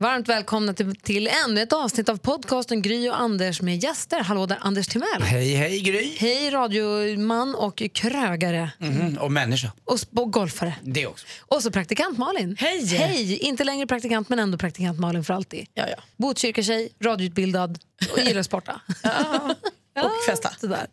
Varmt välkomna till, till ännu ett avsnitt av podcasten Gry och Anders med gäster. Hallå där, Anders Timell. Hej, hej Gry. Hej radioman och krögare Mhm, Och människa. och, sp- och golfare. Det också. Och så praktikant Malin. Hej! Hej! Inte längre praktikant men ändå praktikant Malin för alltid. Ja, ja. Botkyrkatjej, radioutbildad och gillar att sporta. Och festa. Sådär.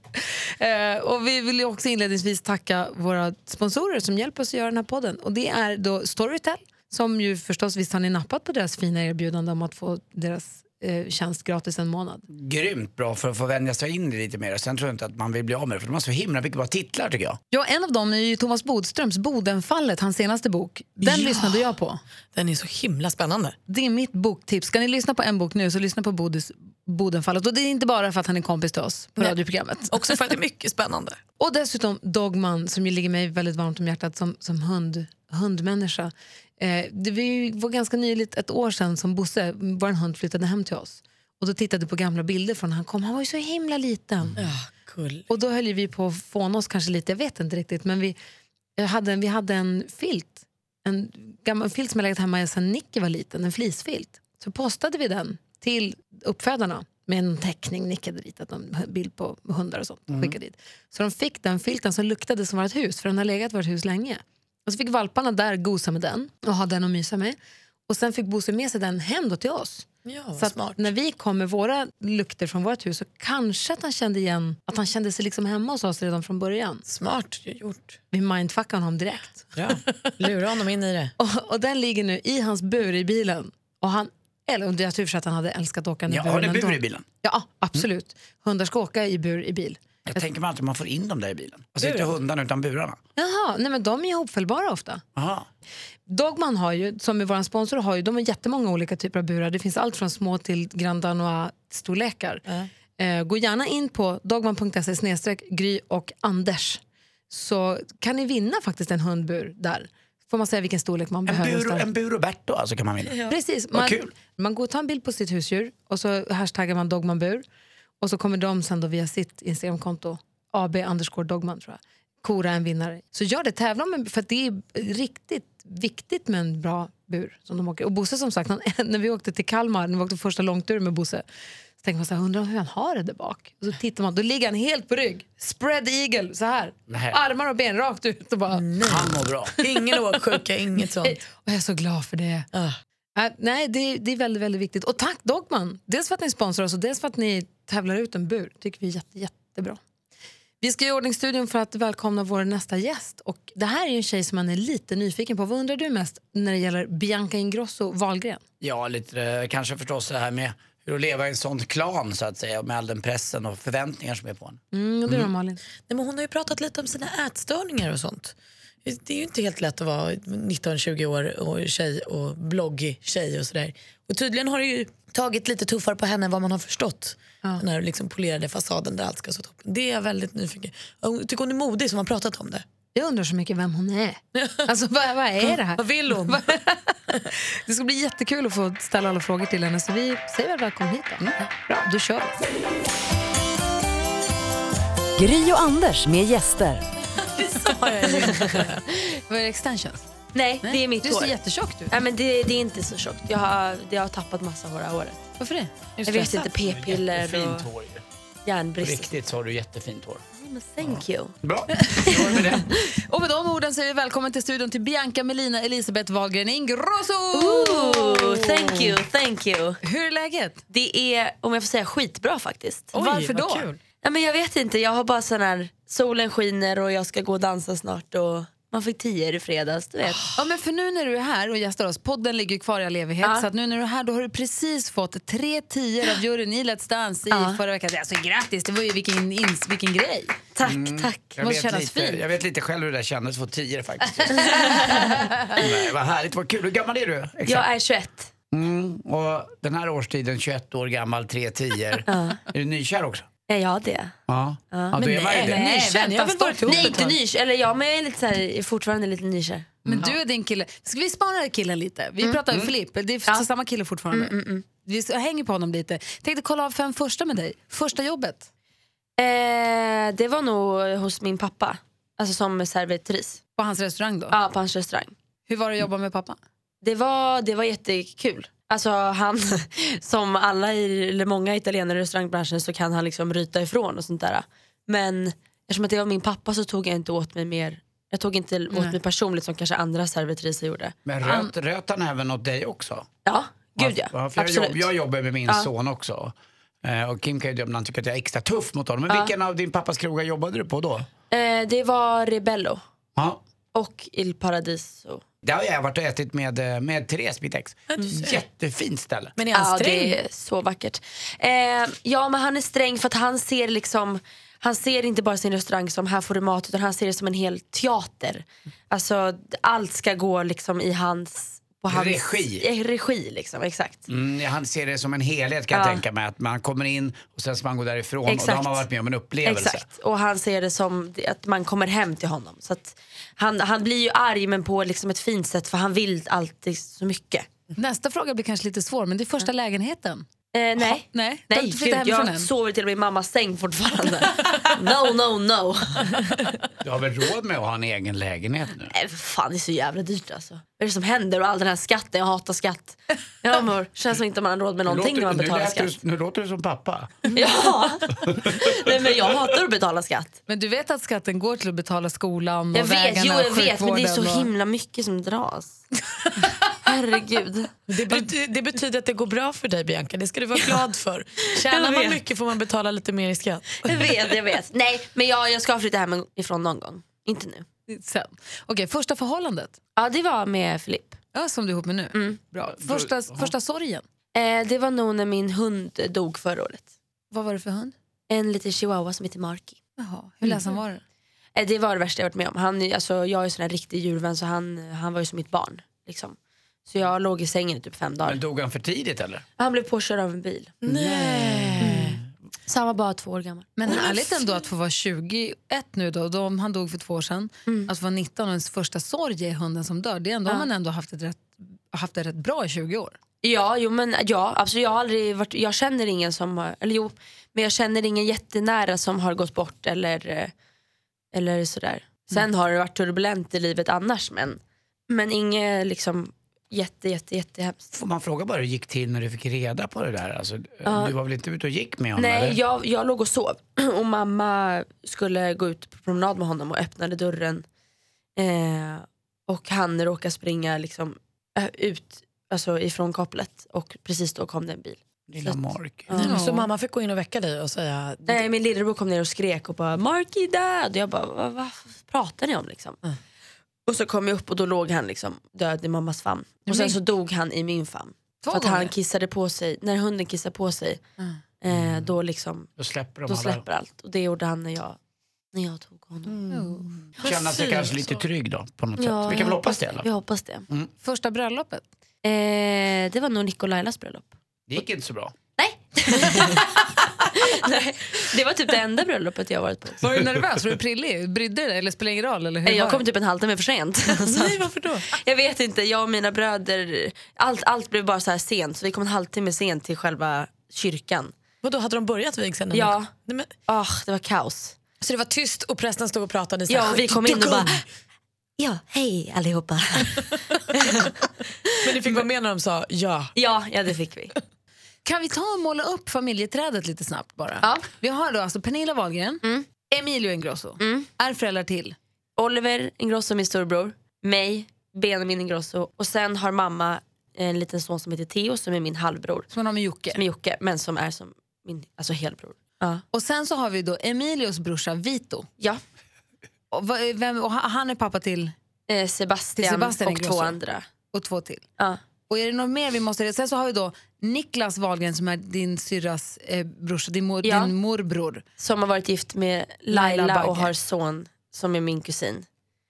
Eh, och vi vill ju också inledningsvis tacka våra sponsorer som hjälper oss att göra den här podden. Och det är då Storytel, som ju förstås, visst har ni nappat på deras fina erbjudande om att få deras eh, tjänst gratis en månad? Grymt bra för att få vänja sig in i det lite mer. Sen tror jag inte att man vill bli av med det för de har så himla mycket bra titlar tycker jag. Ja, en av dem är ju Thomas Bodströms Bodenfallet, hans senaste bok. Den Ja. lyssnade jag på. Den är så himla spännande. Det är mitt boktips. Ska ni lyssna på en bok nu så lyssna på Bodis, Bodenfallet. Och det är inte bara för att han är kompis till oss på Nej. radioprogrammet. Också för att det är mycket spännande. Och dessutom Dogman som ju ligger mig väldigt varmt om hjärtat som, som hund, hundmänniska. Eh, det var ju var ganska nyligt ett år sedan som Bosse, vår hund, flyttade hem till oss. Och då tittade på gamla bilder från när han kom. Han var ju så himla liten. Ah, Cool. Och då höll ju vi på att fåna oss kanske lite, jag vet inte riktigt. Men vi jag hade, vi hade en filt, en gammal filt som jag legat hemma sedan Nicky var liten, en fleecefilt. Så postade vi den till uppfödarna med en teckning, Nicky hade ritat en bild på hundar och sånt. Skickade dit. Så de fick den filten som luktade som vårt hus, för den har legat i vårt hus länge. Och så fick valparna där gosa med den och ha den att mysa med. Och sen fick Bosse med sig den hem då till oss. Ja, Så så att smart. när vi kom med våra lukter från vårt hus så kanske att han kände igen att han kände sig liksom hemma hos oss redan från början. Smart gjort. Vi mindfuckade honom direkt. Bra. Lura honom in i det. Och, och den ligger nu i hans bur i bilen. Och han, eller om det är tur för att han hade älskat att åka den Ja, har ni buren bur ändå. i bilen? Ja, absolut. Hundar ska åka i bur i bil. Jag tänker mig alltid att man får in dem där i bilen. Alltså inte hundarna utan burarna. Jaha, nej men de är ihopfällbara ofta. Aha. Dogman har ju, som är vår sponsor, har ju, de har jättemånga olika typer av burar. Det finns allt från små till Grand Danois-storlekar. Eh, gå gärna in på dogman.se snedstreck gry och Anders så kan ni vinna faktiskt en hundbur där. Får man säga vilken storlek man En, behöver. bur, och en bur och Berto alltså kan man vinna. Precis. Man, kul. man går och tar en bild på sitt husdjur och så hashtaggar man dogmanbur. Och så kommer de sen då via sitt Instagramkonto, AB underscore dogman tror jag, kora en vinnare. Så gör det, tävla om en, för att det är riktigt viktigt med en bra bur som de åker. Och Bosse som sagt, han, när vi åkte till Kalmar, när vi åkte första långtur med Bosse, så tänkte man så här, undrar hur han har det där bak. Och så tittar man, då ligger han helt på rygg, spread eagle, så här. Nej. Armar och ben rakt ut och bara... Han mår bra. Ingen åksjuka, inget sånt. Och jag är så glad för det. Ah. Äh, nej, det, det är väldigt, väldigt viktigt. Och tack Dogman! Dels för att ni sponsrar oss och dels för att ni tävlar ut en bur. tycker vi är jätte, jättebra. Vi ska i ordning studion för att välkomna vår nästa gäst. Och det här är ju en tjej som man är lite nyfiken på. Vad undrar du mest när det gäller Bianca Ingrosso Wahlgren? Ja, lite eh, kanske förstås det här med hur att leva i en sån klan så att säga med all den pressen och förväntningar som är på en. Mm, och du då Malin? Nej, men hon har ju pratat lite om sina ätstörningar och sånt. Det är ju inte helt lätt att vara 19-20 år och tjej och bloggig tjej och sådär. Och tydligen har det ju tagit lite tuffare på henne än vad man har förstått. Den här liksom polerade fasaden där allt ska så toppen. Det är jag väldigt nyfiken. Jag tycker hon är modig som har pratat om det. Jag undrar så mycket vem hon är. Alltså vad, vad är det här? Vad vill hon? Det ska bli jättekul att få ställa alla frågor till henne så vi säger väl välkommen hit Mm. då. Bra, då kör vi. Gry och Anders med gäster. Vad är det, extensions? Nej, det är mitt Du hår. ser jättetjockt ut. Nej, men det, det är inte så tjockt. Jag har, jag har tappat massa hår av håret. Varför det? Jag vet inte, p-piller Fint och hår ju. järnbrist. Riktigt så har du jättefint hår. Men thank you. Bra, då var det med det. Och med de orden säger vi välkommen till studion till Bianca Melina Elisabeth Wahlgren Ingrosso! Ooh, thank you, thank you. Hur är läget? Det är, om jag får säga, skitbra faktiskt. Varför då? Nej, men jag vet inte, jag har bara sån här, solen skiner och jag ska gå och dansa snart och man fick tio i fredags, du vet. Ja, men för nu när du är här och gästar oss, podden ligger ju kvar i all evighet, Ja. så att nu när du är här då har du precis fått tre tior av juryn i Let's Dance i Ja. förra veckan. Alltså grattis, det var ju vilken, ins, vilken grej. Tack, tack. Mm, Jag Måste vet, kännas lite, fint. jag vet lite själv hur det där kändes att få tio faktiskt. Nej, vad härligt, vad kul. Hur gammal är du? Exakt. Jag är 21. Och den här årstiden, 21 år gammal, tre tior. Är du nykär också? Ja, jag har det. Ja, ja då Men är man ju nej, det. nej. jag har väl vänta, varit stopp. ihop Nej, ett inte tag. nykär. Eller ja, men jag är lite så här, är fortfarande lite nykär. Men du och din kille, ska vi spara killen lite? Vi Mm. pratar om Filip, det är samma kille fortfarande. Vi s- hänger på honom lite. Tänkte kolla av fem första med dig. Första jobbet, Eh, det var nog hos min pappa. Alltså som servitris. på hans restaurang då. Ja, på hans restaurang. Hur var det att jobba med pappa? Det var, det var jättekul. Alltså han, som alla i, eller många italienare i restaurangbranschen så kan han liksom ryta ifrån och sånt där. Men eftersom att det var min pappa så tog jag inte åt mig mer. Jag tog inte åt mig personligt som kanske andra servitriser gjorde. Men röt, röt han även åt dig också? Ja, gud ja. Ja, för jag, Absolut. jobb, jag jobbar med min son också. Eh, och Kim kan ju döma när han tycker att jag är extra tuff mot honom. Men vilken av din pappas krogar jobbade du på då? Eh, det var Rebello Ja. och Il Paradiso. Där har jag varit och ätit med, eh, med Therese, mitt ex. Jättefint ställe. Men är han Ja, sträng? det är så vackert. Eh, ja, men han är sträng för att han ser liksom han ser inte bara sin restaurang som här får du mat utan han ser det som en hel teater. Alltså allt ska gå liksom i hans... På hans Regi. eh, regi liksom, exakt. Mm, han ser det som en helhet kan jag Ja. tänka mig. Att man kommer in och sen ska man gå därifrån och då har Exakt. man varit med om en upplevelse. Exakt. Och han ser det som det- att man kommer hem till honom. Så att han, han blir ju arg men på liksom ett fint sätt för han vill alltid så mycket. Nästa fråga blir kanske lite svår, men det är första lägenheten. Eh, nej. nej. Du har nej inte flyttat gud, hemifrån jag än? sover till och med i mammas säng fortfarande. no, no, no. Du har väl råd med att ha en egen lägenhet nu? Nej, för fan, det är så jävla dyrt alltså. Vad är det som händer och all den här skatten? Jag hatar skatt. Jag mår, känns som inte man har råd med någonting när man nu, betalar lät skatt. du, nu låter du som pappa. Ja. Nej, men jag hatar att betala skatt. Men du vet att skatten går till att betala skolan och Jag vet, vägarna jo jag och vet, men det är så sjukvården och- himla mycket som dras. Herregud. Det, bety- det betyder att det går bra för dig Bianca, det ska du vara glad för. Jag Tjänar man vet. mycket får man betala lite mer i skatt. Jag vet, jag vet. Nej, men jag, jag ska flytta hemifrån någon gång. Inte nu. Sen. Okej, första förhållandet Ja, det var med Filip. ja, som du är ihop med nu. Mm. Bra. Första, första sorgen, Eh, det var nog när min hund dog förra året. vad var det för hund? En liten chihuahua som heter Marky. Jaha. Hur ledsen var du? Eh, Det var det värsta jag varit med om. Han, är- alltså, jag är sån här riktig djurvän så han, han var ju som mitt barn. Liksom. Så jag låg i sängen i typ fem dagar. Men dog han för tidigt eller? Han blev påkörd av en bil. Mm. Så han var bara två år gammal. Men härligt ändå att få vara 21 nu då, då om han dog för två år sedan. Mm. Att få vara 19 och ens första sorg är hunden som dör. Det är ändå har man ändå haft, ett rätt, haft det rätt bra i 20 år. Ja, jo, men, ja absolut, jag, har aldrig varit, jag känner ingen som har, eller jo, men jag känner ingen jättenära som har gått bort eller, eh, eller sådär. Sen har det varit turbulent i livet annars men, men inget liksom jätte jätte jättehemskt. Får man fråga bara hur det gick till när du fick reda på det där? Alltså, Du var väl inte ute och gick med honom? Nej, eller? jag, jag låg och sov och mamma skulle gå ut på promenad med honom och öppnade dörren. Eh, och han råkade springa liksom, ö- ut alltså, ifrån kopplet och precis då kom det en bil. Lilla Mark. Så mamma fick gå in och väcka dig och säga Nej, Eh, min lillebror kom ner och skrek och bara Mark är död. Jag bara vad, vad pratar ni om liksom? Mm. Och så kom jag upp och då låg han liksom död i mammas famn. Och sen så dog han i min famn. Två För att han gånger? Mm. kissade på sig, när hunden kissade på sig, eh, då liksom Då släpper de då alla. släpper allt. Och det gjorde han när jag, när jag tog honom. Känna sig kanske lite trygg då på något Ja, sätt. Vi jag kan väl hoppas det i alla Vi fall. hoppas det. Första bröllopet. Eh, det var nog Nick och Lailas bröllop. Det gick inte så bra. Nej. Nej! Det var typ det enda bröllopet jag varit på. Var du nervös? Var du prillig? Brydde du dig? Eller spelade ingen roll? Eller hur Nej, var Jag det? kom typ en halvtimme för sent. Så Nej, varför då? jag vet inte, jag och mina bröder, allt, allt blev bara så här sent. Så vi kom en halvtimme sent till själva kyrkan. Vadå, hade de börjat vigseln? Mm. Ja. Nej, men, Ah, det var kaos. så det var tyst och prästen stod och pratade? Så här, Ja, och vi kom in och bara, "Kung!" ja hej allihopa. Men ni fick vara med när de sa ja. Ja, ja det fick vi. Kan vi ta och måla upp familjeträdet lite snabbt bara? Ja. Vi har då alltså Pernilla Wahlgren, Emilio Ingrosso, är föräldrar till. Oliver Ingrosso, min storbror, mig, Benjamin Ingrosso och sen har mamma en liten son som heter Theo som är min halvbror. Som man har med Jocke. Med Jocke, men som är som min alltså helbror. Ja. Och sen så har vi då Emilios brorsa Vito. ja. Och, vad- vem, och han han är pappa till Eh, Sebastian, Till Sebastian och Ingrosso. två andra. och två till. Ja. Och är det något mer vi måste reda Sen så har vi då Niklas Wahlgren som är din syrras eh, brorsa, din, mor, Ja. din morbror. Som har varit gift med Laila Laila, Bagge. och har son som är min kusin.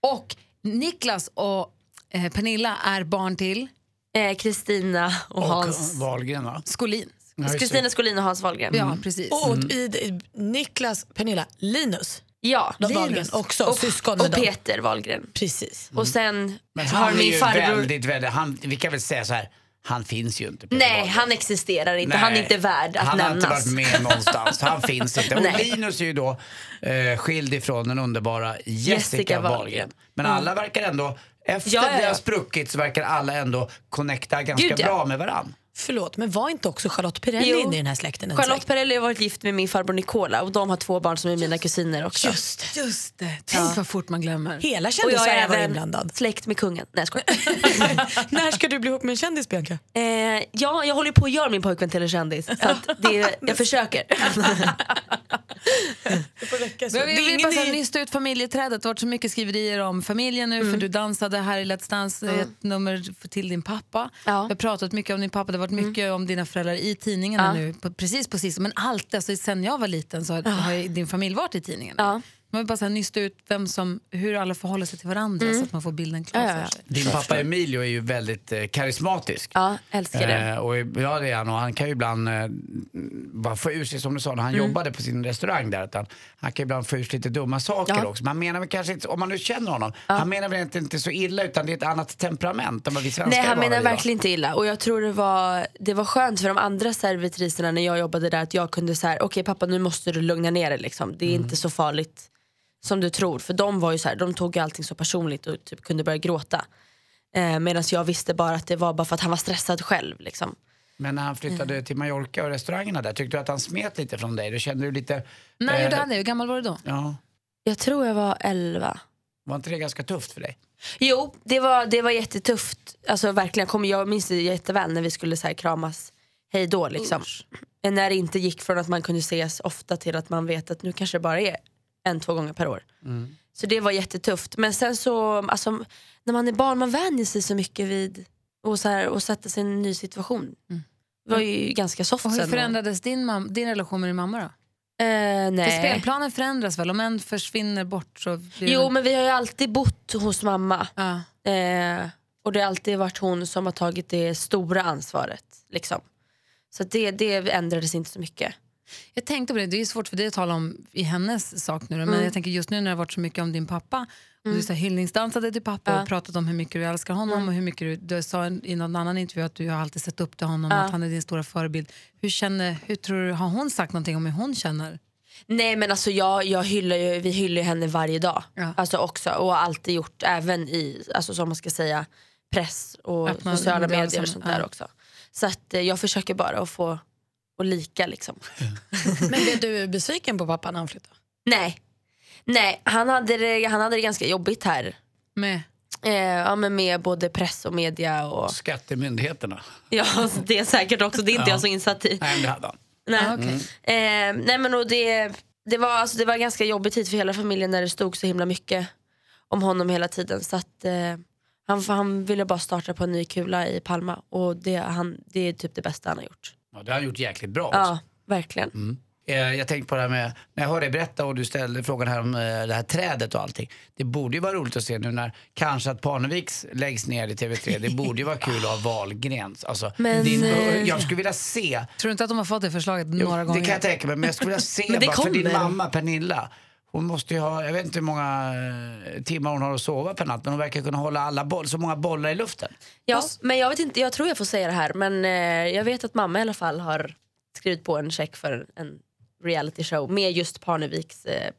Och Niklas och eh, Pernilla är barn till Eh, Kristina och, Och Hans. Wahlgren va? Skolin. just det. Kristina Skolin och Hans Wahlgren. Ja, precis. Mm. Och i, i, Niklas, Pernilla, Linus. Ja. De Wahlgren också, Och, syskon med och dem. Peter Wahlgren. Precis. Och sen Mm. Men har han är min ju farbror... väldigt, väldigt, han, vi kan väl säga så här, han finns ju inte. Peter Nej, Wahlgren. han existerar inte. Han är inte värd att han nämnas. har inte varit med någonstans. Han finns inte. Och Nej. Linus är ju då eh, skild ifrån den underbara Jessica, Jessica Wahlgren. Mm. Wahlgren. Men alla verkar ändå, efter Ja, ja, det har ja. spruckit så verkar alla ändå connecta ganska Gud, ja. bra med varann. Förlåt, men var inte också Charlotte Perrelli Jo. inne i den här släkten? en Charlotte släkt? Perrelli har varit gift med min farbror Nicola och de har två barn som är mina kusiner också. Just det. Just det. Tänk vad fort man glömmer. Hela Och jag kändis-Sverige är har varit även inblandad. släkt med kungen. Nej jag skojar. När ska du bli ihop med en kändis, Bianca? eh, ja, jag håller ju på att göra min pojkvän till en kändis. Så att det, jag försöker. Det får räcka så. Men vi Det är vill ingen bara så här ny- nysta ut familjeträdet. Det har varit så mycket skriverier om familjen nu Mm. för du dansade här i Let's Dance eh, ett nummer för- till din pappa. Vi Ja. Mm. har pratat mycket om din pappa, det har varit mycket om dina föräldrar i tidningarna Ja. nu. På, precis på sistone, men allt, alltså, sen jag var liten så har, har ju din familj varit i tidningarna. Ja. Man vill bara så här nysta ut vem som, hur alla förhåller sig till varandra så att man får bilden klar Mm. Ja, ja, ja. för sig. Din pappa Emilio är ju väldigt eh, karismatisk. ja, älskar det. Eh, och ja, det är han. Och han kan ju ibland eh, bara få ur sig, som du sa, när han Mm. jobbade på sin restaurang där. Att han, han kan ibland få ur sig lite dumma saker Ja. också. Man menar väl kanske inte, om man nu känner honom, han menar väl inte, inte så illa utan det är ett annat temperament än vad vi svenskar Nej är han vana menar vid, va? verkligen inte illa och jag tror det var, det var skönt för de andra servitriserna när jag jobbade där att jag kunde säga okej pappa nu måste du lugna ner dig liksom. det är inte så farligt som du tror för de var ju så här, de tog ju allting så personligt och typ kunde börja gråta. Eh, Medan jag visste bara att det var bara för att han var stressad själv liksom. Men när han flyttade Mm. till Mallorca och restaurangerna där, tyckte du att han smet lite från dig? Då kände du lite... När eh, gjorde han det? Hur gammal var du då? Ja, Jag tror jag var 11. var inte det ganska tufft för dig? Jo, det var, det var jättetufft. Alltså, verkligen, jag kommer, jag minns det jätteväl när vi skulle så här, kramas hej då. Liksom. När det inte gick från att man kunde ses ofta till att man vet att nu kanske det bara är en, två gånger per år. Mm. Så det var jättetufft. Men sen så, alltså, när man är barn man vänjer sig så mycket vid och, så här, och sätter sig i en ny situation. Det var ju ganska soft Mm. Och hur sen. förändrades din, mam- din relation med din mamma då? Eh, För nej. spelplanen förändras väl? Om en försvinner bort så blir Jo det... men vi har ju alltid bott hos mamma. Ja. Eh, och det har alltid varit hon som har tagit det stora ansvaret. Liksom. Så att det, det ändrades inte så mycket. Jag tänkte på det, det är ju svårt för dig att tala om i hennes sak nu, men Mm. jag tänker just nu när det har varit så mycket om din pappa, och du så här hyllningsdansade till pappa och pratat om hur mycket du älskar honom Mm. och hur mycket du, du sa en- i någon annan intervju att du har alltid sett upp till honom och att han är din stora förebild. Hur, känner, hur tror du, har hon sagt någonting om hur hon känner? Nej men alltså jag, jag hyllar ju, vi hyllar ju henne varje dag. Ja. Alltså också, och har alltid gjort även i, alltså som man ska säga, press och Att man- sociala det är medier och som- sånt där ja. också. Så att eh, jag försöker bara att få och lika liksom. Men blev du besviken på pappa när han flyttade? Nej, Nej han, hade det, han hade det ganska jobbigt här. Med? Eh, ja, men med både press och media. Och, Skattemyndigheterna. ja, alltså, det är säkert också, det är inte jag så insatt i. Nej, men det hade han. Nej. Ah, okej. Eh, nej men och det, det, var, alltså, det var ganska jobbig tid för hela familjen när det stod så himla mycket om honom hela tiden. Så att, eh, han, han ville bara starta på en ny kula i Palma och det, han, det är typ det bästa han har gjort. Ja, det har han gjort jäkligt bra också. Ja, verkligen. Eh, Jag tänkte på det här med, när jag hörde dig berätta och du ställde frågan här om eh, det här trädet och allting. Det borde ju vara roligt att se nu när kanske att Parneviks läggs ner i TV3. Det borde ju vara kul att ha Wahlgrens. Alltså, Men, din, eh, jag skulle vilja se, Tror du inte att de har fått det förslaget några det gånger? kan jag tänka mig, men jag skulle vilja se Men det bara, för din kommer. mamma Pernilla. Hon måste ju ha, jag vet inte hur många eh, timmar hon har att sova per natt, men hon verkar kunna hålla alla boll, så många bollar i luften. Ja, men jag, vet inte, jag tror jag får säga det här men eh, jag vet att mamma i alla fall har skrivit på en check för en reality show med just Parneviks, eh,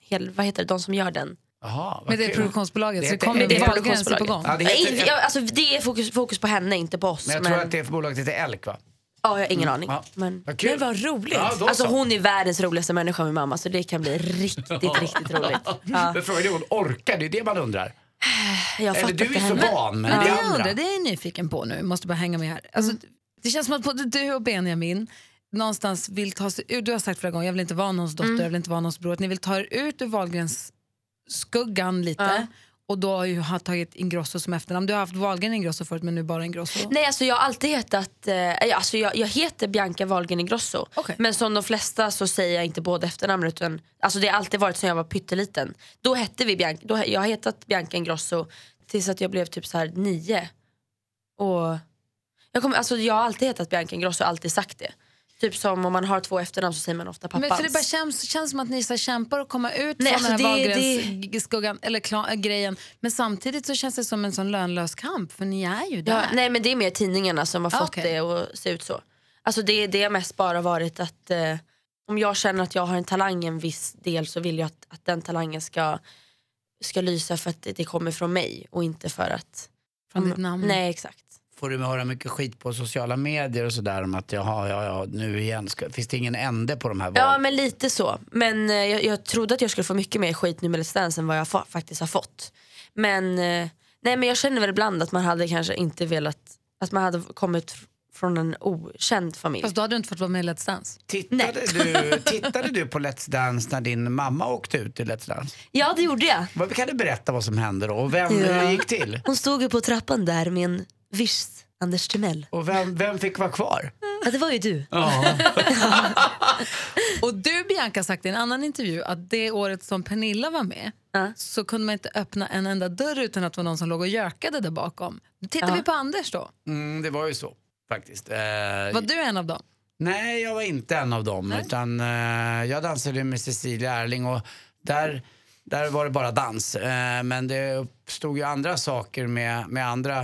hel, vad heter det, de som gör den. Jaha, vad Med det kul. produktionsbolaget, Det så det heter- kommer Med det en valgräns på produktionsbolaget. gång. Ja, det Nej, heter, inte- ja, alltså, det är fokus, fokus på henne, inte på oss. men jag tror att det bolaget heter Elkva. Ja, jag har ingen aning. Ja. Men, Vad kul. Men vad roligt. Ja, då alltså, så. hon är världens roligaste människa min mamma så det kan bli riktigt, riktigt roligt. Ja. Men frågan är om hon orkar, det är det man undrar. Jag Eller fattar du inte är så henne. van med Men det det jag andra. undrar, det är jag nyfiken på nu, måste bara hänga med här. Alltså, Mm. Det känns som att både du och Benjamin någonstans vill ta sig ur, du har sagt flera gånger, jag vill inte vara någons dotter, Mm. jag vill inte vara någons bror, att ni vill ta er ut ur Wahlgrens skuggan lite. Ja. Och då har ju han tagit Ingrosso som efternamn. Du har haft Wahlgren Ingrosso förut men nu bara Ingrosso. Nej, alltså jag har alltid hetat, eh, alltså jag, jag heter Bianca Wahlgren Ingrosso. Okej. Men som de flesta så säger jag inte både efternamn utan alltså det har alltid varit som jag var pytteliten. Då hette vi Bianca, då, jag har hetat Bianca Ingrosso tills att jag blev typ så här nio. Och jag, kommer alltså jag har alltid hetat Bianca Ingrosso och alltid sagt det. Typ som om man har två efternamn så säger man ofta pappans. Men för det bara känns, känns som att ni så här kämpar att komma ut Nej, från alltså den här det- valgrensskuggan eller kla- äh, grejen. Men samtidigt så känns det som en sån lönlös kamp för ni är ju där. Ja, nej men det är mer tidningarna som har Ah, fått okej. det att se ut så. Alltså det, det har mest bara varit att eh, om jag känner att jag har en talang i en viss del så vill jag att, att den talangen ska, ska lysa för att det, det kommer från mig och inte för att... Från om- ditt namn. Nej exakt. Får du höra mycket skit på sociala medier och sådär om att jaha, ja, ja, nu igen, ska, finns det ingen ände på de här valen? Ja men lite så. Men eh, jag, jag trodde att jag skulle få mycket mer skit nu med Let's Dance än vad jag fa- faktiskt har fått. Men, eh, nej, men jag känner väl ibland att man hade kanske inte velat, att man hade kommit fr- från en okänd familj. Fast då hade du inte fått vara med i Let's Dance. Tittade, du, tittade du på Let's Dance när din mamma åkte ut i Let's Dance? Ja det gjorde jag. Vad, kan du berätta vad som hände då och vem, Ja. hur det gick till? Hon stod ju på trappan där med en viss Anders Timell. Och vem, vem fick vara kvar? Ja, det var ju du. Och du Bianca sagt i en annan intervju att det året som Pernilla var med Ja. så kunde man inte öppna en enda dörr utan att det var någon som låg och gökade där bakom. Nu tittar Ja. vi på Anders då. Mm, det var ju så faktiskt. Eh, Var du en av dem? Nej, jag var inte en av dem. Utan, eh, jag dansade med Cecilia Erling och där, där var det bara dans. Eh, men det uppstod ju andra saker med, med andra,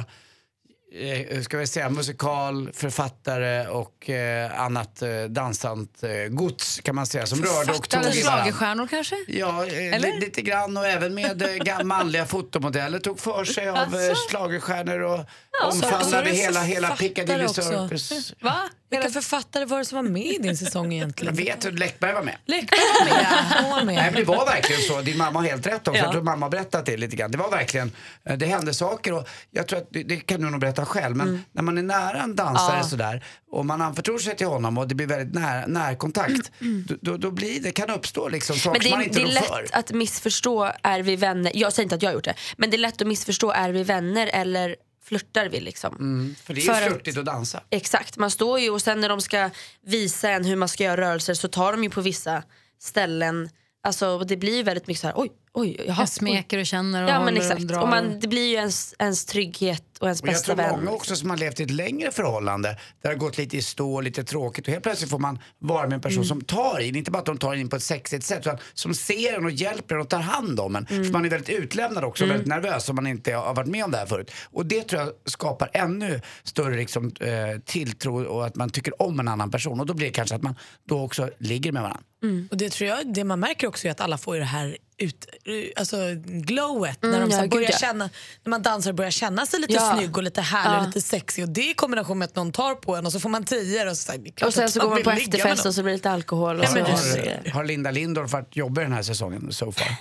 eh, hur ska vi säga, musikal, författare och eh, annat eh, dansant eh, gods kan man säga som rörde och tog i varandra. Schlagerstjärnor kanske? Ja, eh, Eller? li- lite grann och även med eh, gam- manliga fotomodeller tog för sig av alltså. schlagerstjärnor och så är omfamnade det hela, hela författare Piccadilly också. Circus. Va? Vilka författare var det som var med i din säsong Jag egentligen? vet hur Läckberg var med. Läckberg var med. Hon var Nej, med. men det var verkligen så. Din mamma har helt rätt också. Jag tror mamma har berättat det lite grann. Det var verkligen, eh, det hände saker och jag tror att, det, det kan du nog berätta själv, Mm. men när man är nära en dansare sådär och man anförtror sig till honom och det blir väldigt när, närkontakt, då, då, då blir det, kan uppstå liksom saker Mm, Men det, som man är- inte det är rår för. lätt att missförstå är vi vänner. Jag säger inte att jag har gjort det. Men det är lätt att missförstå är vi vänner eller flörtar vi liksom. För det för är att- ju flörtigt att dansa. Exakt, man står ju och sen när de ska visa en hur man ska göra rörelser så tar de ju på vissa ställen, alltså det blir ju väldigt mycket så här oj, oj, jaha. Jag smeker och känner och Ja men håller exakt, drar. och man, det blir ju ens, ens trygghet och ens Och jag bästa tror vän. många också som har levt i ett längre förhållande där det har gått lite i stå, lite tråkigt och helt plötsligt får man vara med en Mm. person som tar in, inte bara att de tar in på ett sexigt sätt utan som ser en och hjälper en och tar hand om en. Mm. För man är väldigt utlämnad också och väldigt nervös om man inte har varit med om det här förut. Och det tror jag skapar ännu större liksom, eh, tilltro och att man tycker om en annan person och då blir det kanske att man då också ligger med varandra. Mm. Och det, tror jag, det man märker också är att alla får ju det här ut, alltså glowet när de Mm, ja, så här gud, börjar ja. känna, när man dansar och börjar känna sig lite Ja. snygg och lite härlig Ja. och lite sexig och det i kombination med att någon tar på en och så får man tior och så, så här, det är klart Och sen att så går man vill på ligga med efterfest någon. och så blir det lite alkohol och Nej, så. men det- så- Har, har Linda Lindorff varit jobbig den här säsongen so far? Hon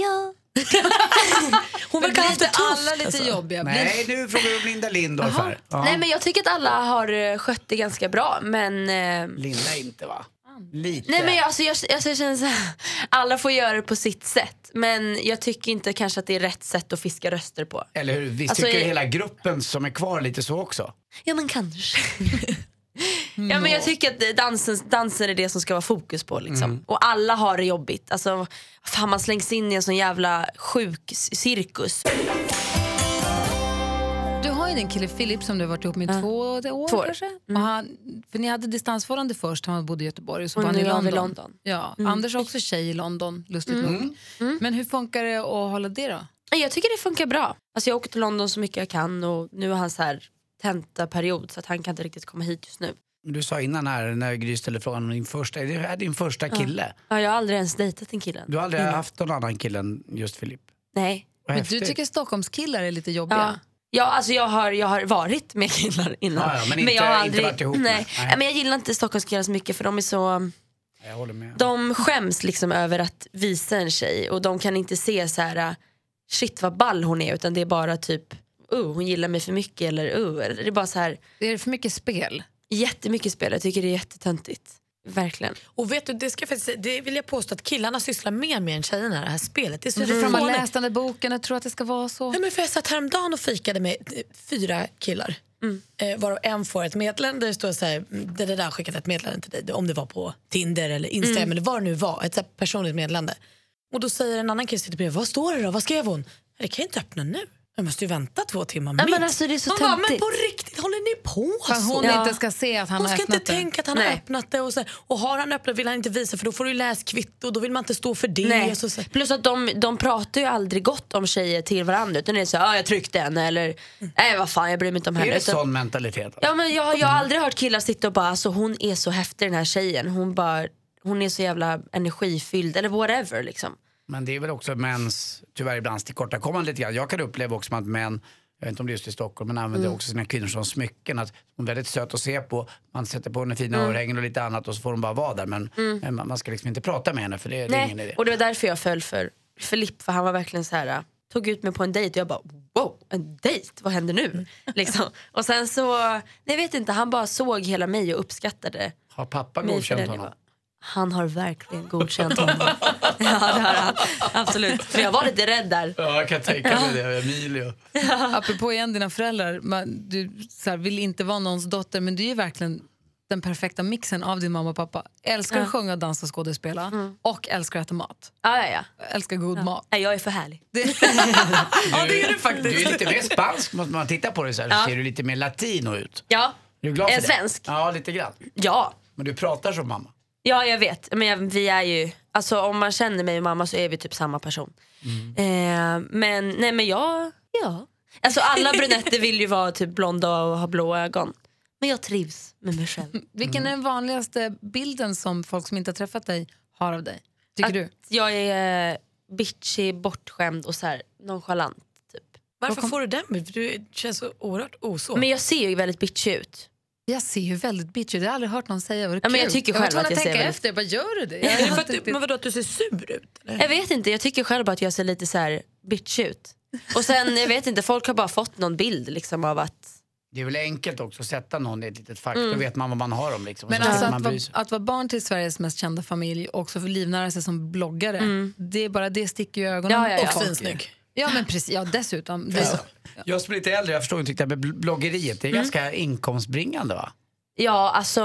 Men verkar blir ha haft inte det tufft. alla lite alltså. jobbiga? Blir- Nej, nu frågar du om Linda Lindorff här. Ja. Nej men jag tycker att alla har eh, skött det ganska bra men eh, Linda inte va? Lite. Nej men jag, alltså, jag, alltså, jag känner så här, alla får göra det på sitt sätt men jag tycker inte kanske att det är rätt sätt att fiska röster på. Eller hur? Visst Alltså, tycker jag- hela gruppen som är kvar lite så också? Ja men kanske. ja, men jag tycker att dansen, dansen är det som ska vara fokus på. Liksom. Mm. Och alla har det jobbigt. Alltså, fan, man slängs in i en sån jävla sjuk c- cirkus. Du har ju din kille Filip som du har varit ihop med i två år Två år. Mm. kanske? Och han, för ni hade distansförhållande först, han bodde i Göteborg och så Och var han nu i har vi London. London. Mm. Ja, Anders har också tjej i London, lustigt Mm. nog. Men hur funkar det att hålla det då? Nej, Jag tycker det funkar bra. Alltså, jag åker till London så mycket jag kan och nu har han så här tentaperiod så att han kan inte riktigt komma hit just nu. Du sa innan här när Gry ställde frågan om din första, är det här din första kille? Ja, Mm. jag har aldrig ens dejtat en kille. Du har aldrig haft någon annan kille än just Filip? Nej. Vad Men du häftigt. tycker Stockholmskillar är lite jobbiga? Ja. Ja, alltså jag har, jag har varit med killar innan. Ja, ja, men inte- jag har inte varit ihop med. nej. Nej. Nej. Men jag gillar inte Stockholmskillar så mycket för de är så... Jag håller med. De skäms liksom över att visa en tjej och de kan inte se så här äh, shit vad ball hon är utan det är bara typ oh, hon gillar mig för mycket eller oh, eller det är bara så här Är det för mycket spel? Mm. jättemycket spel. Jag tycker det är jättetöntigt. Verkligen. Och vet du, det, ska jag faktiskt, säga, det vill jag påstå att killarna sysslar mer med än tjejerna det här spelet. Det är Mm. så För de har förvånande. läst den där boken och tror att det ska vara så. Nej, men för jag satt häromdagen och fikade med eh, fyra killar. Mm. Eh, varav en får ett meddelande där det står så här, "Mm, det det där har skickat ett meddelande till dig. Om det var på Tinder eller Instagram Mm. eller vad det nu var. Ett så här personligt meddelande. Och då säger en annan kille som sitter bredvid, vad står det då? Vad skrev hon? Det kan jag inte öppna nu. Jag måste ju vänta två timmar Ja, minst. men alltså, det är så Man bara, men töntigt. på riktigt, håller ni på För att så? hon Ja. inte ska se att han Hon har ska öppnat inte det. tänka att han har Nej. öppnat det och, så, och har han öppnat vill han inte visa för då får du ju läskvitto och då vill man inte stå för det. Nej. Och så, så. Plus att de, de pratar ju aldrig gott om tjejer till varandra utan det är så här, ah, jag tryckte henne eller nej vad fan jag bryr mig inte om Är henne. det Utan, sån mentalitet? ja, men jag, jag har aldrig hört killar sitta och bara alltså, hon är så häftig den här tjejen. Hon, bara, hon är så jävla energifylld eller whatever liksom. Men det är väl också mäns, tyvärr ibland, tillkortakommande lite grann. Jag kan uppleva också att män, jag vet inte om det är just i Stockholm, men använder Mm. också sina kvinnor som smycken. Att hon är väldigt söt att se på, man sätter på henne Mm. fina örhängen och lite annat och så får hon bara vara där. Men, men man- man ska liksom inte prata med henne för det, det är ingen idé. Nej. Och det var därför jag föll för Filipp för han var verkligen så här äh, tog ut mig på en dejt och jag bara wow en dejt vad händer Mm. nu? Liksom. Och sen så, nej jag vet inte han bara såg hela mig och uppskattade Har pappa mig för godkänt den jag honom? var. Han har verkligen godkänt honom. ja det har han, absolut. För jag var lite rädd där. Ja, jag kan tänka mig det. Emilio. Apropå igen dina föräldrar, man, du så här, vill inte vara någons dotter men du är ju verkligen den perfekta mixen av din mamma och pappa. Älskar att sjunga, dansa och skådespela och älskar att äta mat. Ja, ja, Mm. ja. Älskar god mat. Nej, jag är för härlig. Ja, det är du faktiskt. Du är lite mer spansk, måste man titta på dig så här. så ser du lite mer latino ut. Ja, Är du glad för Är det? svensk? Ja, lite grann. ja. Men du pratar som mamma. Ja jag vet, men jag, vi är ju, alltså om man känner mig och mamma så är vi typ samma person. Eh, men nej men jag, ja. Alltså alla brunetter vill ju vara typ blonda och ha blå ögon. Men jag trivs med mig själv. Vilken är den vanligaste bilden som folk som inte har träffat dig har av dig? Tycker du? Jag är eh, bitchig, bortskämd och så här nonchalant. Typ. Varför får du den? Du känns så oerhört osåld. Men jag ser ju väldigt bitchig ut. Jag ser ju väldigt bitchy ut, det har jag aldrig hört någon säga. Vad Ja, men jag kul. tycker var själv att tvungen jag ser tänka väldigt- efter, jag bara gör du det? Jag Är det vet för att, du- inte men vadå att du ser sur ut? Eller? Jag vet inte, jag tycker själv att jag ser lite så här bitchig ut. Och sen jag vet inte, folk har bara fått någon bild liksom av att Det är väl enkelt också att sätta någon i ett litet fack. Då vet man vad man har dem. Liksom. Men Och så alltså slipper att, man vara, bry sig. att vara barn till Sveriges mest kända familj och också få livnära sig som bloggare, det är bara det sticker ju i ögonen Mm. Ja, ja, ja. på folk. Finsnygg. Ja, men precis. Ja, dessutom. Det, Jag som är lite äldre, jag förstår inte riktigt det här med bl- bloggeriet. Det är ganska inkomstbringande va? Ja, alltså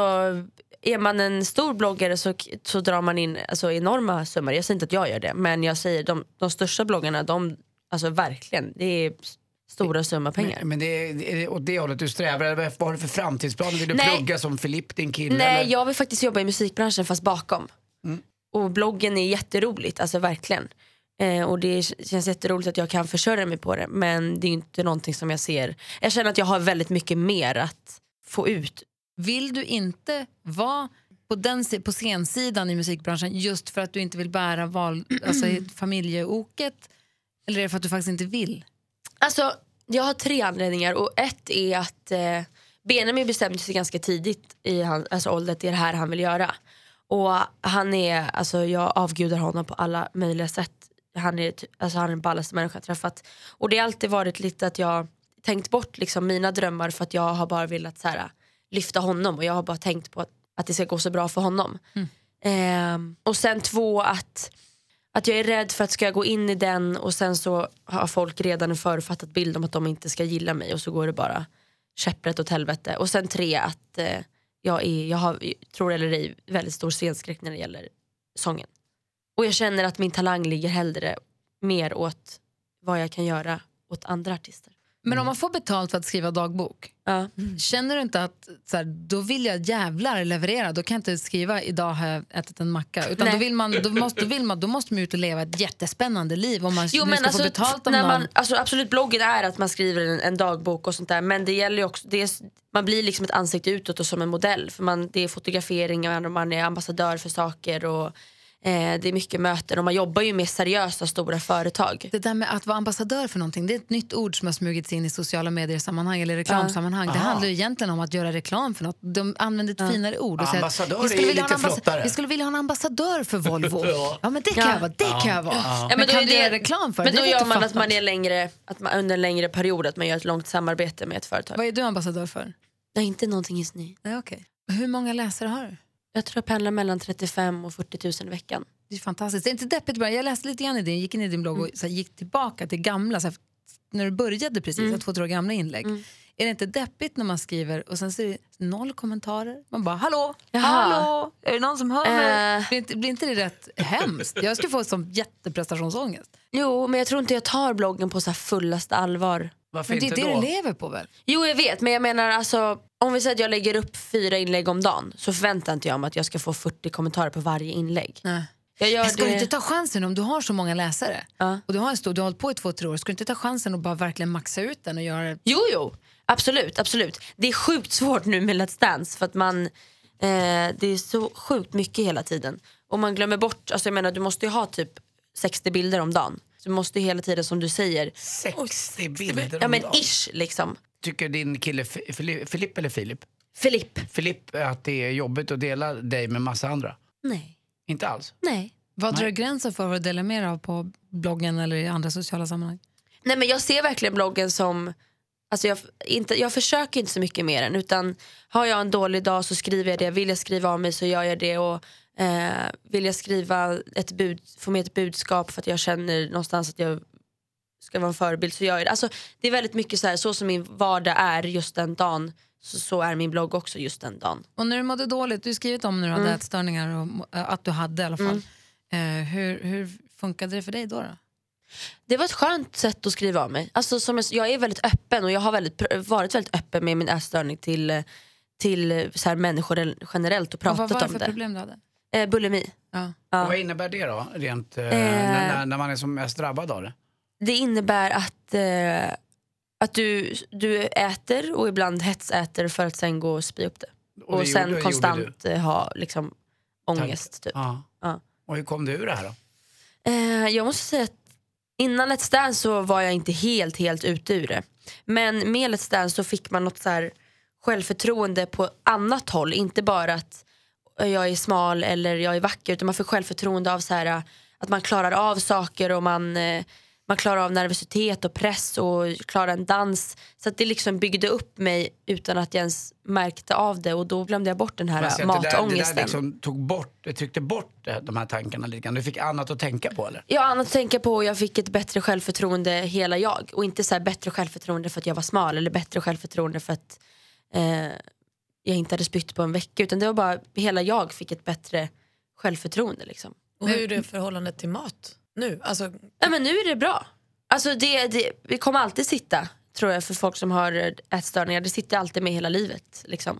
är man en stor bloggare så, så drar man in alltså, enorma summor. Jag säger inte att jag gör det, men jag säger de, de största bloggarna, de, alltså verkligen, det är s- stora summor pengar. Men det är, det är åt det hållet du strävar? Eller vad har du för framtidsplan? Vill du Nej. plugga som Filipp, din kille? Nej, eller? jag vill faktiskt jobba i musikbranschen fast bakom. Mm. Och bloggen är jätteroligt, alltså verkligen. Eh, och det k- känns jätteroligt att jag kan försörja mig på det. Men det är ju inte någonting som jag ser. Jag känner att jag har väldigt mycket mer att få ut. vill du inte vara på, den, si- på scensidan i musikbranschen just för att du inte vill bära val, alltså, familjeoket? Eller är det för att du faktiskt inte vill? Alltså, jag har tre anledningar och ett är att eh, Benjamin bestämde sig ganska tidigt i han, alltså ålder att det är det här han vill göra. Och han är, alltså jag avgudar honom på alla möjliga sätt. Han är, ty- alltså han är den ballaste människan jag träffat. Och det har alltid varit lite att jag tänkt bort liksom mina drömmar för att jag har bara velat så här, lyfta honom och jag har bara tänkt på att, att det ska gå så bra för honom. Ehm, och sen två att att jag är rädd för att ska jag gå in i den och sen så har folk redan en förutfattad bild om att de inte ska gilla mig och så går det bara käpprätt åt helvete. Och sen tre att eh, jag, är, jag har, tror eller ej, väldigt stor scenskräck när det gäller sången. Och jag känner att min talang ligger hellre mer åt vad jag kan göra åt andra artister. Men om man får betalt för att skriva dagbok, Ja. känner du inte att så här, då vill jag jävlar leverera, då kan jag inte skriva idag har jag ätit en macka. Utan Nej. då, vill man, då, måste, då, vill man, då måste man ut och leva ett jättespännande liv om man Jo, nu men ska alltså, få betalt av när någon. man, alltså, absolut, bloggen är att man skriver en, en dagbok och sånt där. Men det gäller ju också, det är, s- man blir liksom ett ansikte utåt och som en modell. För man, det är fotograferingar och man är ambassadör för saker och eh, det är mycket möten. Och man jobbar ju med seriösa stora företag. Det där med att vara ambassadör för någonting, det är ett nytt ord som har smugits in i sociala medier-sammanhang eller reklamsammanhang. Det handlar ju egentligen om att göra reklam för något. De använder ett finare ord. och säger att Ambassadör vi skulle är vilja ha en lite flottare. Vi skulle vilja ha en ambassadör för Volvo. ja. men det kan Ja. jag vara, det kan jag vara. Men, då kan är du det- göra reklam för Men det? då Det vet gör jag man fan. att man är längre, att man, under en längre period, att man gör ett långt samarbete med ett företag. Vad är du ambassadör för? Nej, inte någonting just nu. Nej, okay. Hur många läsare har du? Jag tror jag pendlar mellan 35 och 40 000 i veckan. Det är fantastiskt. Det är inte deppigt bara. Jag läste lite grann i din, gick in i din blogg och så här, gick tillbaka till gamla, så här, när du började precis, mm. två, tre år gamla inlägg. Är det inte deppigt när man skriver och sen så är det noll kommentarer? Man bara hallå, Jaha. hallå, är det någon som hör mig? Eh. Blir, inte, blir inte det rätt hemskt? Jag skulle få som jätteprestationsångest. Jo, men jag tror inte jag tar bloggen på så här fullaste allvar Varför Men det är inte det då? du lever på väl? Jo jag vet men jag menar alltså om vi säger att jag lägger upp fyra inlägg om dagen så förväntar inte jag mig att jag ska få 40 kommentarer på varje inlägg. Nej. Jag gör Men ska du det... inte ta chansen om du har så många läsare Ja. och du har en stor, du har hållit på i två, tre år, ska du inte ta chansen och bara verkligen maxa ut den och göra Jo, jo. Absolut, absolut. Det är sjukt svårt nu med Let's Dance för att man, eh, det är så sjukt mycket hela tiden. Och man glömmer bort, alltså jag menar du måste ju ha typ 60 bilder om dagen. Så du måste ju hela tiden som du säger, 60 bilder ja om men dagen. ish liksom. Tycker din kille Fi- Fili- Filip eller Filip? Filipp. Filip att det är jobbigt att dela dig med massa andra? Nej, Inte alls? nej. Vad drar gränsen för vad du delar mer av på bloggen eller i andra sociala sammanhang? Nej men jag ser verkligen bloggen som, alltså jag, inte, jag försöker inte så mycket med den utan har jag en dålig dag så skriver jag det, vill jag skriva av mig så gör jag det och eh, vill jag skriva ett bud, få med ett budskap för att jag känner någonstans att jag ska vara en förebild så gör jag det. Alltså, det är väldigt mycket så här, så som min vardag är just den dagen så, så är min blogg också just den dagen. Och när du mådde dåligt, du har skrivit om när du Mm. hade ätstörningar, och, må- äh, att du hade i alla fall. Eh, hur, hur funkade det för dig då? då? Det var ett skönt sätt att skriva av mig. Alltså, som jag, jag är väldigt öppen och jag har väldigt, pr- varit väldigt öppen med min ätstörning till, eh, till eh, så här, människor rel- generellt och Och vad var pratat det om för det. problem du hade? Eh, bulimi. Ja. Och vad innebär det då? Rent, eh, när, när- när man är som mest drabbad av det? Det innebär att, eh, att du, du äter och ibland hetsäter för att sen gå och spy upp det. Och Och, det sen gjorde- gjorde konstant eh, ha liksom, ångest. Typ. Ja. Ja. Och hur kom du ur det här då? Eh, jag måste säga att innan Let's Dance så var jag inte helt, helt ute ur det. Men med Let's Dance så fick man något så här självförtroende på annat håll. Inte bara att eh, jag är smal eller jag är vacker utan man fick självförtroende av så här, eh, att man klarar av saker och man, eh, man klarar av nervositet och press och klarar en dans. Så att det liksom byggde upp mig utan att jag ens märkte av det och då glömde jag bort den Man här ser eh, att det där, det matångesten. där liksom tog bort, det tryckte bort eh, de här tankarna lite grann. Du fick annat att tänka på eller? Jag har annat att tänka på och jag fick ett bättre självförtroende hela jag. Och inte så här bättre självförtroende för att jag var smal eller bättre självförtroende för att eh, jag inte hade spytt på en vecka. Utan det var bara hela jag fick ett bättre självförtroende. Liksom. Och hur är det förhållandet till mat nu? Alltså, Ja, men nu är det bra. Alltså det, det, vi kommer alltid sitta, tror jag, för folk som har ätstörningar. Det sitter alltid med hela livet. Liksom.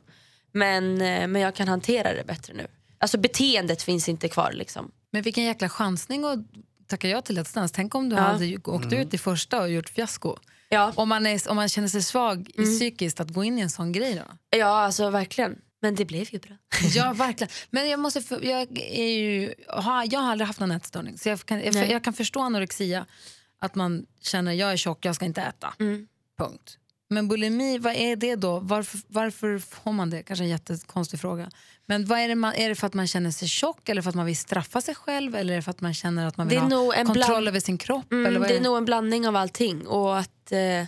Men, eh, men jag kan hantera det bättre nu. Alltså beteendet finns inte kvar liksom. Men vilken jäkla chansning att tacka ja till Let's Dance. Tänk om du hade ju åkt Mm. ut i första och gjort fiasko. Ja. Om man, är, om man känner sig svag i Mm. psykiskt, att gå in i en sån grej då? ja, alltså verkligen. Men det blev ju bra. Ja, verkligen. Men jag, måste, för- jag, är ju, har, jag har aldrig haft någon ätstörning. Så jag kan, jag, Nej. jag kan förstå anorexia, att man känner jag är tjock, jag ska inte äta. Mm. Punkt. Men bulimi, vad är det då? Varför, varför får man det? Kanske en jättekonstig fråga. Men vad är, det man, är det för att man känner sig tjock eller för att man vill straffa sig själv eller är det för att man känner att man Det vill är ha nog en kontroll bland- över sin kropp? eller Mm, vad det är är nog en blandning av allting och att, eh,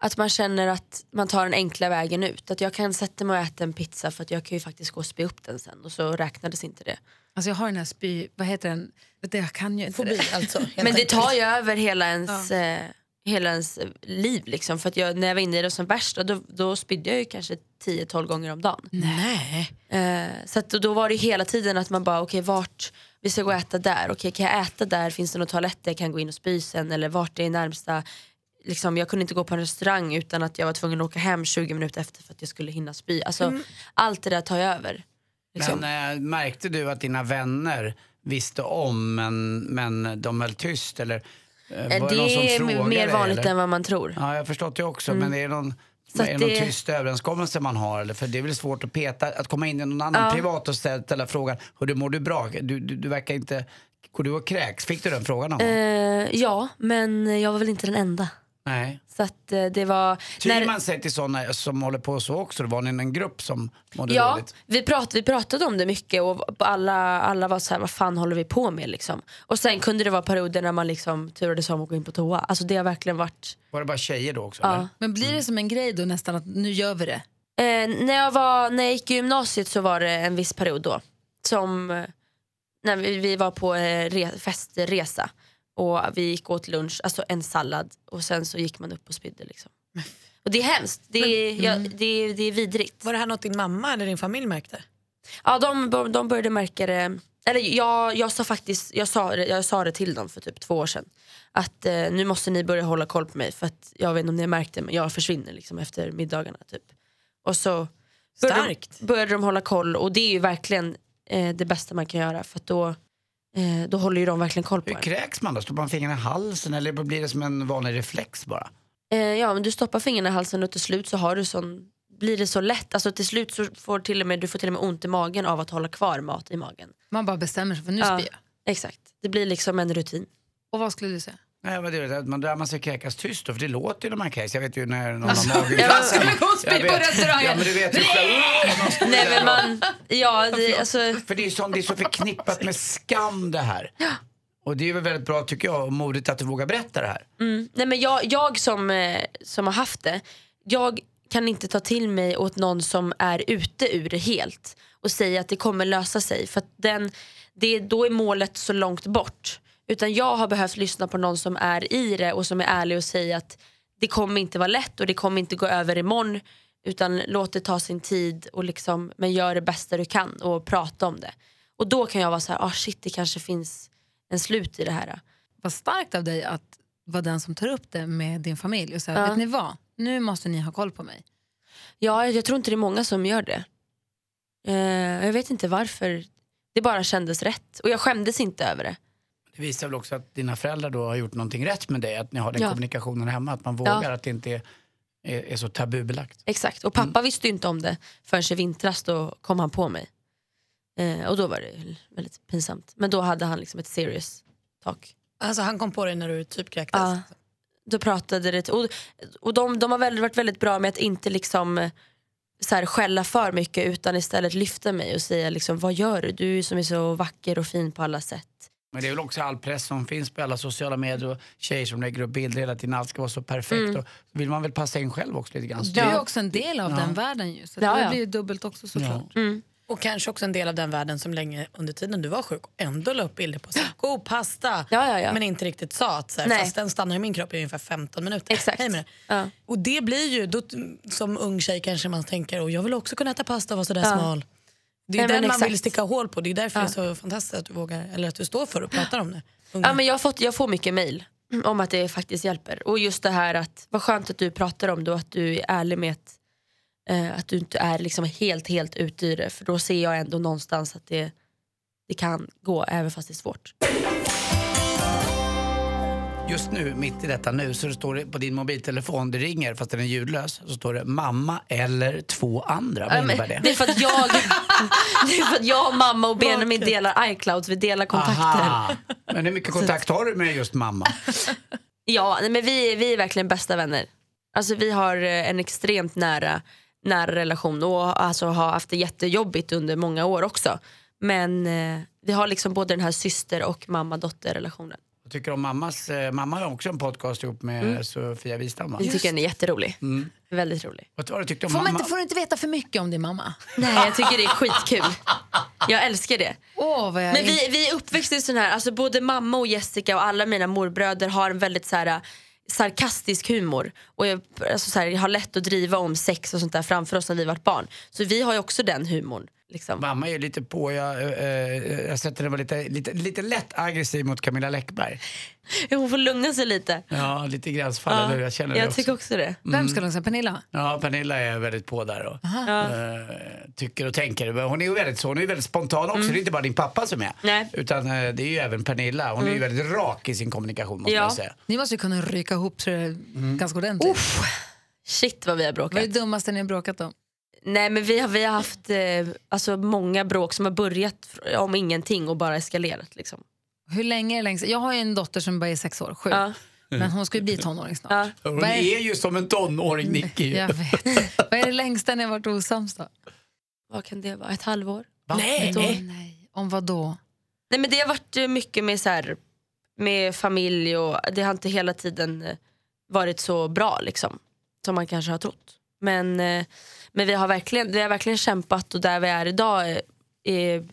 att man känner att man tar den enkla vägen ut. Att jag kan sätta mig och äta en pizza för att jag kan ju faktiskt gå och spy upp den sen och så räknades inte det. Alltså jag har den här spy... Vad heter den? Vet du, Jag kan ju inte fobi det. alltså. helt Men det enkelt. tar ju över hela ens, eh, hela ens liv liksom. För att jag, när jag var inne i det som värst då, då spydde jag ju kanske 10-12 gånger om dagen. Nej. Eh, så att, då- då var det hela tiden att man bara, okej vart, vi ska gå och äta där, okej kan jag äta där, finns det någon toalett där jag kan gå in och spy sen eller vart är närmsta, liksom, jag kunde inte gå på en restaurang utan att jag var tvungen att åka hem 20 minuter efter för att jag skulle hinna spy. Alltså, Allt det där tar jag över. Liksom. Mm. Men eh, märkte du att dina vänner visste om men, men de höll tyst eller? eh, Eh, var det någon som är frågade mer dig, vanligt eller? än vad man tror. Ja, jag har förstått det också. Men är det någon, Mm. är Så det att någon det- tyst överenskommelse man har? Eller? För det är väl svårt att peta, att komma in i någon annan privat och ställa, ställa frågan, hur du mår du bra? Du, du, du verkar inte, går du och kräks? Fick du den frågan någon gång? Eh, ja, men jag var väl inte den enda. Nej. Så att eh, det var... Tyr man sig till sådana som håller på så också? Det var ni en grupp som mådde Ja, dåligt? vi, prat, vi pratade om det mycket och alla, alla var så här, vad fan håller vi på med liksom? Och sen kunde det vara perioder när man liksom turades om att gå in på toa. Alltså det har verkligen varit... Var det bara tjejer då också? Ja. eller? Men blir det som en grej då nästan att nu gör vi det? Eh, när, jag var, när jag gick i gymnasiet så var det en viss period då. Som eh, när vi, vi var på eh, re, festresa och vi gick åt lunch, alltså en sallad och sen så gick man upp och spydde liksom. Och det är hemskt, det är, ja, det är, det är vidrigt. Var det här något din mamma eller din familj märkte? Ja, de, de började märka det Eller jag, jag sa faktiskt, jag sa, det- jag sa det till dem för typ två år sedan. Att eh, nu måste ni börja hålla koll på mig för att jag vet inte om ni har märkt det men jag försvinner liksom efter middagarna typ. Och så började, Starkt. De, började de hålla koll och det är ju verkligen eh, det bästa man kan göra för att då, eh, då håller ju de verkligen koll på Hur en. kräks man då? Stoppar man fingrarna i halsen eller blir det som en vanlig reflex bara? Eh, ja men du stoppar fingrarna i halsen och till slut så har du sån, blir det så lätt. Alltså till slut så får till och med, du får till och med ont i magen av att hålla kvar mat i magen. Man bara bestämmer sig för nu Ja. spyr jag. Exakt, det blir liksom en rutin. Och vad skulle du säga? Nej, men det är, man, där man ska kräkas tyst då, för det låter ju när man kräks. Jag vet ju när någon har mage. Alltså, jag skulle gå och spy på restaurangen. Ja, men du vet ju. Nej! Nej men man, ja det, alltså, För det är, som, det är så förknippat med skam det här. Och det är väl väldigt bra tycker jag och modigt att du vågar berätta det här. mm. nej men jag, jag som, eh, som har haft det, jag kan inte ta till mig åt någon som är ute ur det helt och säga att det kommer lösa sig för att den, det, då är målet så långt bort. Utan jag har behövt lyssna på någon som är i det och som är ärlig och säga att det kommer inte vara lätt och det kommer inte gå över imorgon utan låt det ta sin tid och liksom, men gör det bästa du kan och prata om det. Och då kan jag vara så här, ah shit det kanske finns en slut i det här. Vad starkt av dig att vara den som tar upp det med din familj och säger, Ja. vet ni vad, nu måste ni ha koll på mig. Ja, jag, jag tror inte det är många som gör det. Eh, jag vet inte varför. Det bara kändes rätt. Och jag skämdes inte över det. Det visar väl också att dina föräldrar då har gjort någonting rätt med dig. Att ni har den Ja. kommunikationen hemma. Att man vågar, Ja. att det inte är, är, är så tabubelagt. Exakt. Och pappa visste ju inte om det förrän i vintras då kom han på mig. Eh, och då var det väldigt pinsamt. Men då hade han liksom ett serious talk. Alltså han kom på dig när du typ kräktes. Ja. Då pratade det och, och de, de har väldigt, varit väldigt bra med att inte liksom eh, så här, skälla för mycket utan istället lyfta mig och säga liksom, vad gör du? Du som är så vacker och fin på alla sätt. Men det är väl också all press som finns på alla sociala medier och tjejer som lägger upp bilder hela tiden. Allt ska vara så perfekt. Mm. Och så vill man väl passa in själv också lite grann. Du är ju också en del av den världen ju, så Ja, det ja. blir ju dubbelt också såklart. Mm. Och kanske också en del av den världen som länge under tiden du var sjuk ändå la upp bilder på så här, god pasta Ja, ja, ja. men inte riktigt sa att så här, Nej. fast den stannar i min kropp i ungefär 15 minuter. Exakt. Hej med det. Ja. Och det blir ju, då, som ung tjej kanske man tänker och jag vill också kunna äta pasta och vara sådär smal. Det är Nej, ju men den man exakt. vill sticka hål på. Det är därför det är så fantastiskt att du vågar, eller att du står för och pratar om det. Unga. Ja, men jag, har fått, jag får mycket mejl om att det faktiskt hjälper. Och just det här att vad skönt att du pratar om det och att du är ärlig med att, eh, att du inte är liksom helt, helt ute i det. För då ser jag ändå någonstans att det, det kan gå även fast det är svårt. Just nu, mitt i detta nu, så står det på din mobiltelefon, det ringer fast den är ljudlös, så står det mamma eller två andra. Vad Ja, men innebär det? Det är för att jag, det är för att jag mamma och Benjamin delar iClouds, vi delar kontakter. Aha. Men hur mycket kontakt har du med just mamma? Ja, nej, men vi, vi är verkligen bästa vänner. Alltså, vi har eh, en extremt nära, nära relation och alltså, har haft det jättejobbigt under många år också. Men eh, vi har liksom både den här syster och mamma-dotter-relationen. Vad tycker du om mammas... Eh, mamma har också en podcast ihop med Sofia Wistam, va? Mm. Jag tycker den är jätterolig. Väldigt rolig. Vad var det du tyckte om Får, man mamma? inte, får du inte veta för mycket om din mamma? Nej, jag tycker det är skitkul. Jag älskar det. Åh, vad jag Men vi, vi är uppväxta i sån här, alltså både mamma och Jessica och alla mina morbröder har en väldigt så här äh, sarkastisk humor och jag, alltså så här, jag har lätt att driva om sex och sånt där framför oss när vi varit barn. Så vi har ju också den humorn. Liksom. Mamma är ju lite på, jag, eh, eh, jag har sett henne vara lite, lite, lite lätt aggressiv mot Camilla Läckberg. Hon får lugna sig lite. Ja, lite gränsfall, eller hur? Jag känner det jag också. tycker också det. Vem ska de säga? Pernilla? Ja, Pernilla är väldigt på där och eh, tycker och tänker. Men Hon är ju väldigt så, hon är ju väldigt spontan också. Det är inte bara din pappa som är. Mm. Nej. Mm. Utan eh, det är ju även Pernilla. Hon är ju väldigt rak i sin kommunikation måste Ja. jag säga. Ni måste ju kunna ryka ihop så det är Mm. ganska ordentligt. Shit vad vi har bråkat. Vad är det dummaste ni har bråkat om? Nej men vi har, vi har haft eh, alltså, många bråk som har börjat fr- om ingenting och bara eskalerat. Liksom. Hur länge är längst? Jag har ju en dotter som bara är sex år, sju. Ja. Men hon ska ju bli tonåring snart. Ja. Hon Vad är, är ju som en tonåring Nicky. jag vet. Vad är det längsta ni har varit osams Eh. då? Vad kan det vara? Ett halvår? Nej. Då, nej. Om vad då? Nej men det har varit eh, mycket med så här, med familj och det har inte hela tiden eh, varit så bra liksom. Som man kanske har trott. Men, eh, men vi, har verkligen, vi har verkligen kämpat och där vi är idag, eh, är,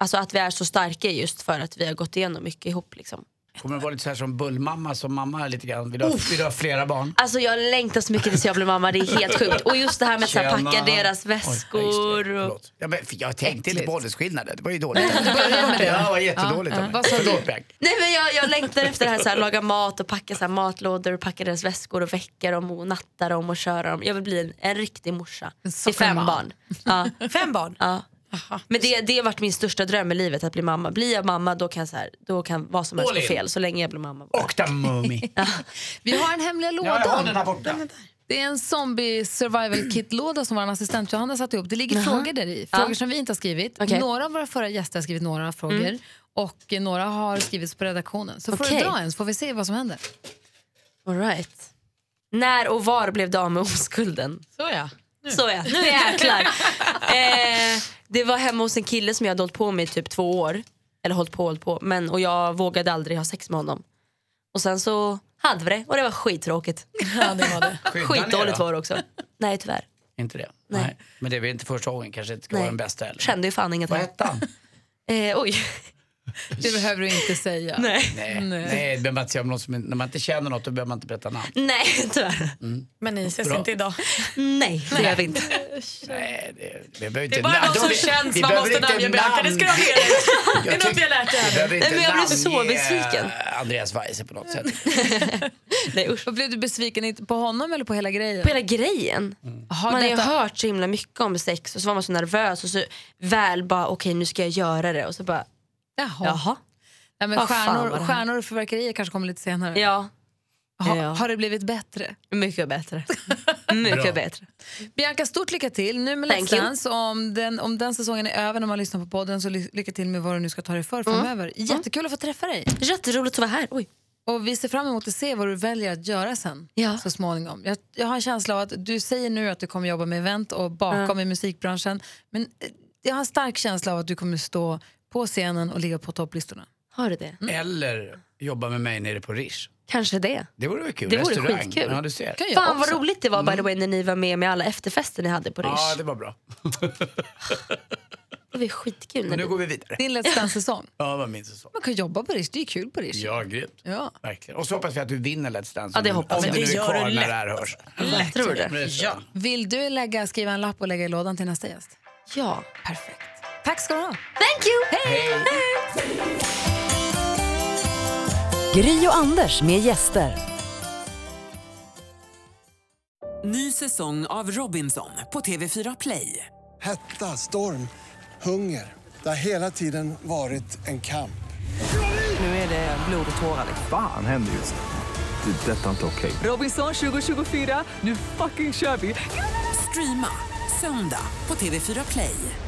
alltså att vi är så starka är just för att vi har gått igenom mycket ihop liksom. Kommer det vara lite så här som bullmamma som mamma är lite grann? Vill du ha, vill du ha flera barn? Alltså jag längtar så mycket tills jag blir mamma, det är helt sjukt. Och just det här med att Tjena. packa deras Oj, ja, just väskor. det. och... Förlåt. ja, men för jag tänkte inte Äckligt. på åldersskillnaden, det var ju dåligt. ja, det var jättedåligt Ja, av ja. mig. Vad sa du? Förlåt Bengt. Nej men jag, jag längtar efter det här, så här laga mat och packa så här matlådor och packa deras väskor och väcka dem och natta dem och köra dem. Jag vill bli en, en riktig morsa. Till fem sockermamma. barn. Ja. Fem barn? Ja. Men det, det har varit min största dröm i livet att bli mamma. Blir jag mamma då kan, så här, då kan vad som helst All gå in. fel så länge jag blir mamma. bara. Och där mummi. Ja, Vi har en hemliga jag har den lådan. här borta. Det är en zombie survival kit-låda som vår assistent Johanna satt ihop. Det ligger frågor där i. Frågor som vi inte har skrivit. Okej. Mm. Några av våra förra gäster har skrivit några frågor. Och eh, några har skrivits på redaktionen. Så får du Okej. dra en så får vi se vad som händer. All right. När och var blev du av med oskulden? Så ja. Så ja, nu jäklar. eh, det var hemma hos en kille som jag hade hållit på med i typ två år. Eller hållit på hållit på. Men, och jag vågade aldrig ha sex med honom. Och sen så hade vi det och det var skittråkigt. ja, det var det. Skyddar ni er Skitdåligt då? var det också. Nej tyvärr. Inte det? Nej. Men det är väl inte första gången, kanske inte ska Nej. vara den bästa heller. Kände ju fan inget. Vad Eh, hette han? oj. Det behöver du inte säga. Nej. Nej, Nej. det behöver man inte säga om någon som, inte- när man inte känner något då behöver man inte berätta namn. Nej tyvärr. Men ni ses Bra. inte idag. Nej det gör vi inte. Nej, det, vi behöver inte Det är bara namn. någon som Vi- känns vi man behöver måste inte namnge Bianca. Det ska du ha med dig. Det är något vi har lärt Vi er. behöver inte men jag blir så namnge besviken. eh, Andreas Weise på något sätt. Nej usch. Och blev du besviken inte på honom eller på hela grejen? På hela grejen. Har man har ju detta- hört så himla mycket om sex och så var man så nervös och så väl bara okej nu ska jag göra det och så bara Jaha. jaha. Ja, men Vad fan var stjärnor, det här? stjärnor och fyrverkerier kanske kommer lite senare. Ja, Ha, Ja. Har det blivit bättre? mycket bättre. mycket bättre. Bianca, stort lycka till. Nu med Thank Let's you. Dance. Om den, om den säsongen är över när man lyssnar på podden så ly- lycka till med vad du nu ska ta dig för Mm. framöver. Jättekul att få träffa dig. Jätteroligt att vara här. Oj. Och vi ser fram emot att se vad du väljer att göra sen. Ja. Så småningom. Jag, jag har en känsla av att du säger nu att du kommer jobba med event och bakom i musikbranschen. Men eh, jag har en stark känsla av att du kommer stå på scenen och ligga på topplistorna. Har du Mm. det? Eller jobba med mig nere på Rish. Kanske det. Det vore väl kul? Det vore Restaurang. skitkul. Ja, du ser. Kan jag Fan vad också. Mm. roligt det var by the way när ni var med med alla efterfester ni hade på Rish. Ja, det... det var bra. var skitkul. När Men nu du... går vi vidare. Din Let's Dance-säsong. Ja, det var min säsong. Man kan jobba på Rish, det är kul på Rish. Ja, grymt. Ja. Verkligen. Och så hoppas vi att du vinner Let's Dance. Ja, det om- hoppas Om jag. du nu Det är gör kvar du när lätt. det här hörs. Tror du Men det? det tror jag. Vill du lägga, skriva en lapp och lägga i lådan till nästa gäst? Ja. Perfekt. Tack ska du ha. Thank you! Hej. Gry och Anders med gäster. Ny säsong av Robinson på TV4 Play. Hetta, storm, hunger. Det har hela tiden varit en kamp. Nu är det blod och tårar. liksom. Fan händer just det. Det är detta inte okej. Robinson 2024, nu fucking kör vi! Streama söndag på TV4 Play.